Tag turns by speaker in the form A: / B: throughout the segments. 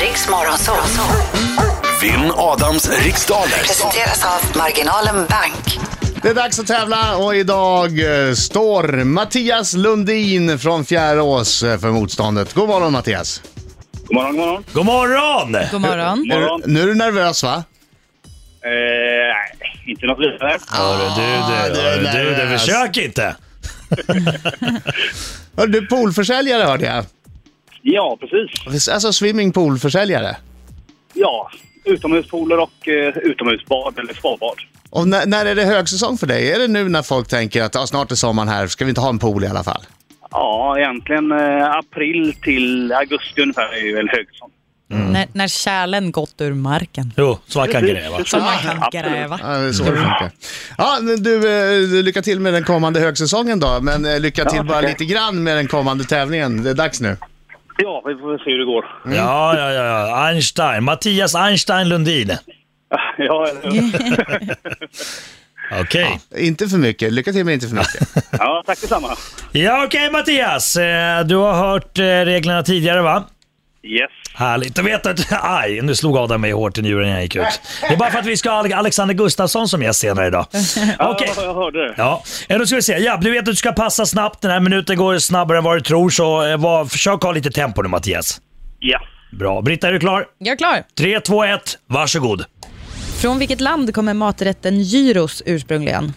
A: Riks Morgonzoo.
B: Vinn Adams riksdaler.
A: Presenteras av Marginalen Bank.
C: Det är dags att tävla och idag eh, står Mattias Lundin från Fjärås eh, för motståndet. God morgon Mattias!
D: God morgon, god morgon.
E: God morgon!
F: God morgon.
C: Är du-
D: morgon.
C: Nu är du nervös va?
D: Eh, nej, inte något vidare.
E: Hörru du, du,
C: det är
E: hörru du, du,
C: nervös.
E: försök inte.
C: Hör du poolförsäljare hörde jag.
D: Ja, precis.
C: Alltså swimmingpoolförsäljare.
D: Ja, utomhuspooler och eh, utomhusbad eller spabad.
C: Och när, när är det högsäsong för dig? Är det nu när folk tänker att ah, snart är sommaren här, ska vi inte ha en pool i alla fall?
D: Ja, egentligen eh, april till augusti ungefär är ju väl högsäsong.
F: När, när kärlen gått ur marken.
E: Jo, så man kan gräva.
D: Precis.
F: Så man kan
D: Absolut.
F: gräva.
C: Ja, det är så det funkar. Ja, men du, eh, du, lycka till med den kommande högsäsongen då, men eh, lycka till bara
D: tackar.
C: lite grann med den kommande tävlingen. Det är dags nu.
D: Ja, vi får väl se hur det går.
E: Ja, ja, ja, ja. Einstein. Mattias Einstein Lundin.
D: ja, eller hur?
E: Okej.
C: Inte för mycket, lycka till men inte för mycket.
D: ja, tack detsamma.
E: Ja, okej Mattias. Eh, Du har hört eh, reglerna tidigare va?
D: Yes.
E: Härligt. Du vet att... Aj, nu slog Adam mig hårt i njuren när jag gick ut. Det är bara för att vi ska ha Ale- Alexander Gustafsson som gäst senare idag. Okej.
D: Ja, jag hörde det.
E: Ja, eh, då ska vi se. Ja, du vet att du ska passa snabbt. Den här minuten går snabbare än vad du tror, så eh, var, försök ha lite tempo nu Mattias.
D: Ja.
E: Bra. Britta, är du klar?
F: Jag är klar.
E: 3, 2, 1, varsågod.
F: Från vilket land kommer maträtten gyros ursprungligen?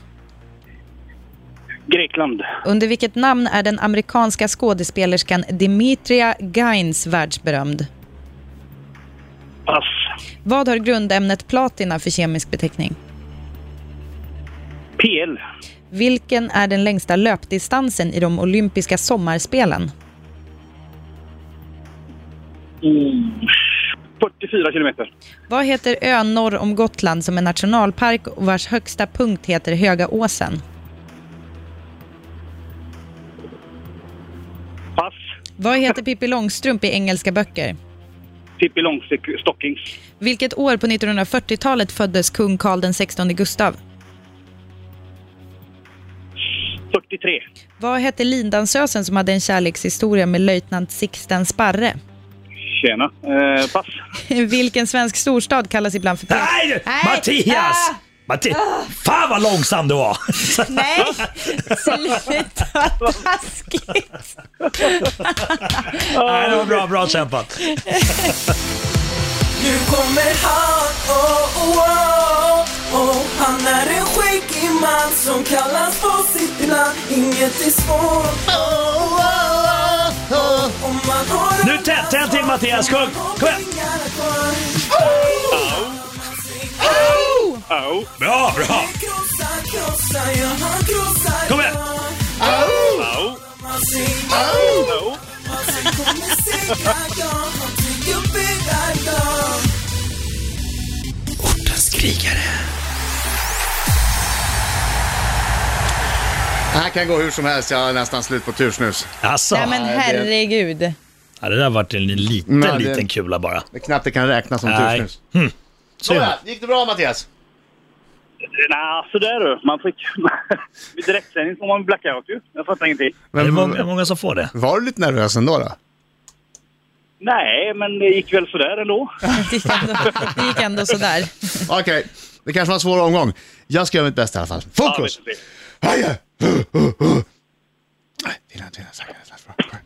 D: Grekland.
F: Under vilket namn är den amerikanska skådespelerskan Dimitria Gaines världsberömd?
D: Pass.
F: Vad har grundämnet platina för kemisk beteckning?
D: PL.
F: Vilken är den längsta löpdistansen i de olympiska sommarspelen?
D: 44 kilometer.
F: Vad heter ön norr om Gotland som är nationalpark och vars högsta punkt heter Höga Åsen?
D: Pass.
F: Vad heter Pippi Långstrump i engelska böcker?
D: Pippi Långstockings.
F: Vilket år på 1940-talet föddes kung Carl den 16 Gustav?
D: 43.
F: Vad hette lindansösen som hade en kärlekshistoria med löjtnant Sixten Sparre?
D: Tjena. Eh, pass.
F: Vilken svensk storstad kallas ibland för...
E: Nej, du!
F: Nej.
E: Mattias!
F: Ah.
E: Matti Fan vad långsam du var!
F: Nej, sluta vad taskigt! Ah.
E: Nej, det var bra, bra kämpat.
G: Nu kommer han, oh, oh, oh, oh. Han är en skäggig man som kallas på sitt land Inget är svårt, oh, oh, oh, oh. Om man har
E: Nu tänd- tänd till, Mattias. Kom, kom igen.
D: Oh.
E: Bra, bra! Kom
G: Kom
E: igen.
G: igen!
D: Oh. Oh.
E: Ortens krigare.
C: Det här kan gå hur som helst, jag är nästan slut på tursnus.
E: Alltså,
F: Nej men herregud.
E: ja, det där vart en liten,
C: Nej, det-
E: liten kula bara.
C: Det är knappt det kan räknas som
E: Nej. Hm.
C: tursnus.
E: Synd.
C: Nåja, gick det bra Mattias?
D: Nej, sådär du. Man fick... Vid direktsändning får man blackout ju. Jag fattar ingenting.
E: Är det
C: Men,
E: många, många som får det?
C: var du lite nervös ändå då?
D: Nej, men det gick väl sådär ändå.
F: Det gick ändå, det gick ändå sådär.
C: Okej, det kanske var en svår omgång. Jag ska göra mitt bästa i alla fall.
D: Ja,
C: Fokus!
D: vet du det.
C: Haja! Uh, uh, uh. Nej, Vila, vila, sakta, sakta, bra.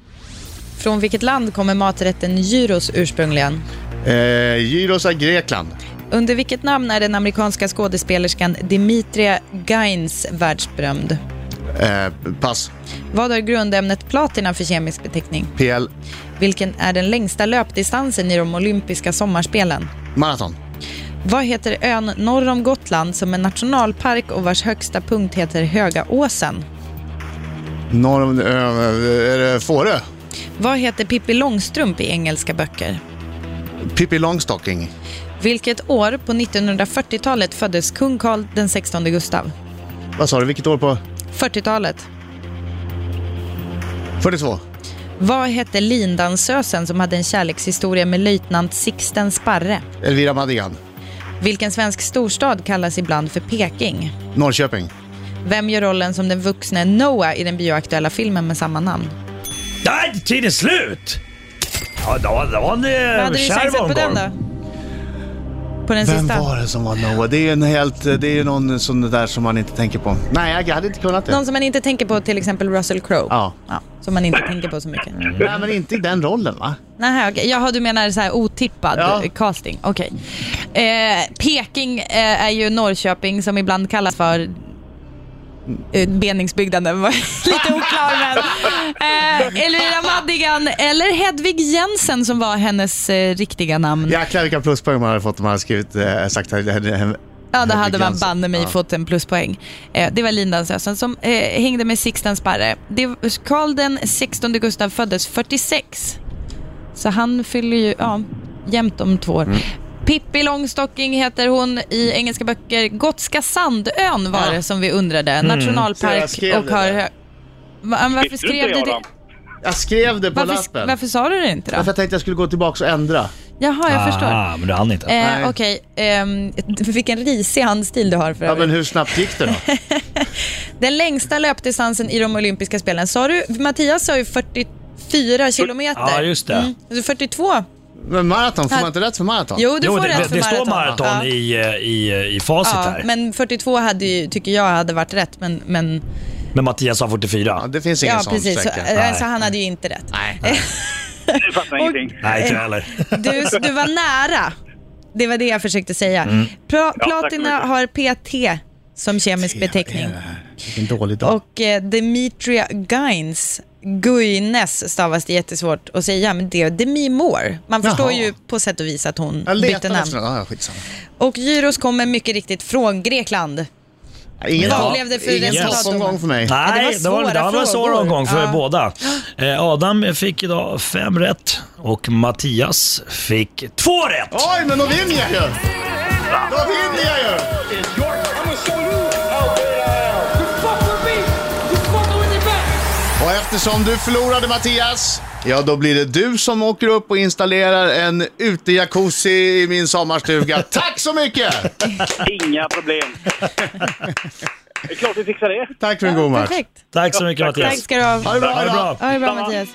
F: Från vilket land kommer maträtten gyros ursprungligen?
C: Eh, Gyros är Grekland.
F: Under vilket namn är den amerikanska skådespelerskan Dimitria Gaines världsberömd?
C: Eh, pass.
F: Vad har grundämnet platina för kemisk beteckning?
C: PL.
F: Vilken är den längsta löpdistansen i de olympiska sommarspelen?
C: Maraton.
F: Vad heter ön norr om Gotland som är nationalpark och vars högsta punkt heter Höga Åsen?
C: Norr om... eh, är det Fårö?
F: Vad heter Pippi Långstrump i engelska böcker?
C: Pippi Långstocking.
F: Vilket år på 1940-talet föddes kung Carl den 16 Gustav?
C: Vad sa du, vilket år på?
F: 40-talet.
C: 42.
F: Vad hette lindansösen som hade en kärlekshistoria med löjtnant Sixten Sparre?
C: Elvira Madigan.
F: Vilken svensk storstad kallas ibland för Peking?
C: Norrköping.
F: Vem gör rollen som den vuxne Noah i den bioaktuella filmen med samma namn?
E: Nej, tiden är slut! Ja, då, då var
F: Vad hade
E: det
F: du
E: kärv
F: chansat på den då? På den
C: Vem
F: sista?
C: var det som var Noah? Det är en helt, det är ju någon sån där som man inte tänker på. Nej, jag hade inte kunnat det.
F: Någon som man inte tänker på, till exempel Russell Crowe.
C: Ja.
F: som man inte tänker på så mycket.
C: Nej, men inte i den rollen va?
F: Nähä, okej. Jaha, du menar så här otippad
C: Ja.
F: casting? Okej. Eh, Peking eh, är ju Norrköping som ibland kallas för eh, Beningsbygden, den var lite oklar men. Eh, Elvira Madigan eller Hedvig Jensen som var hennes eh, riktiga namn. Ja,
C: Jäklar vilka pluspoäng man hade fått om man hade skrivit, eh, sagt här. här- här-
F: då
C: Hedvig
F: hade man
C: Jensen.
F: banne mig
C: Ja.
F: fått en pluspoäng. Eh, det var Lindans som eh, hängde med Sixten Sparre. Det, var- Karl den 16 Gustav föddes 46. Så han fyller ju, ja, jämnt om två år.
C: Mm.
F: Pippi Långstocking heter hon i engelska böcker. Gotska Sandön var det som vi undrade.
C: Mm. Så jag
F: Nationalpark
C: skrev
F: och
C: det
F: har...
C: där.
F: hö- Va- men Varför
D: Visste inte
F: skrev du
D: jag
F: det?
D: dem?
C: Jag skrev det på
F: Varför,
C: lappen.
F: varför sa du det inte
C: Därför
F: då?
C: jag tänkte jag skulle gå tillbaka och ändra.
F: Jaha, jag förstår.
E: Ah, men du hann inte.
C: nej.
F: Eh, Okej, ehm, vilken risig handstil du har för
C: Ja, men
F: övrigt.
C: hur snabbt gick det då?
F: Den längsta löpdistansen i de olympiska spelen, sa du, Mattias sa ju 44 kilometer. Mm.
E: Ja, just det.
F: Så 42?
C: Men maraton, får man inte rätt för maraton?
F: Jo, du
E: Jo,
F: får
E: det,
F: rätt
E: det,
F: för
E: det står maraton
F: Ja.
E: i, eh, i, eh, i facit
F: Ja,
E: här. Men,
F: men 42 hade ju, tycker jag hade varit rätt, men... men
E: Mattias sa
C: Ja,
E: 44.
C: det finns ingen
F: ja,
C: sån
F: precis. Så,
C: sträcka.
F: eh,
E: Nej.
F: så han hade ju inte rätt.
D: Jag fattar ingenting.
E: Nej, inte jag heller.
F: Du, du var nära. Det var det jag försökte säga.
E: Mm.
F: Pra,
D: tack så
F: platina
D: mycket.
F: har PT som kemisk beteckning.
C: Vilken dålig dag.
F: Och eh, Demetria Guines, Guines stavas det jättesvårt att säga, men det är Demi Moore. Man förstår
C: Jaha.
F: ju på sätt och vis att hon
C: jag
F: bytte
C: letar
F: namn.
C: efter något. Ja, skitsamma.
F: Och Gyros kommer mycket riktigt från Grekland.
C: Ingen,
E: Vad
F: blev det för
C: ingen
F: resultat?
C: toppomgång för mig.
E: Nej,
F: var
E: det var, det
F: svåra
E: var en svår
F: frågor.
E: omgång för
F: Ja.
E: båda. Eh, Adam fick idag fem rätt och Mattias fick två rätt.
C: Oj, men då vinner jag ju! Då vinner jag ju! Och eftersom du förlorade Mattias, ja då blir det du som åker upp och installerar en utejacuzzi i min sommarstuga. Tack så mycket!
D: Inga problem. Det är klart vi fixar det.
C: Tack för en god match.
F: Perfekt.
E: Tack så mycket
D: Tack.
E: Mattias.
F: Tack ska du ha.
C: Ha det bra,
E: Ha det bra.
F: Ha det bra Mattias.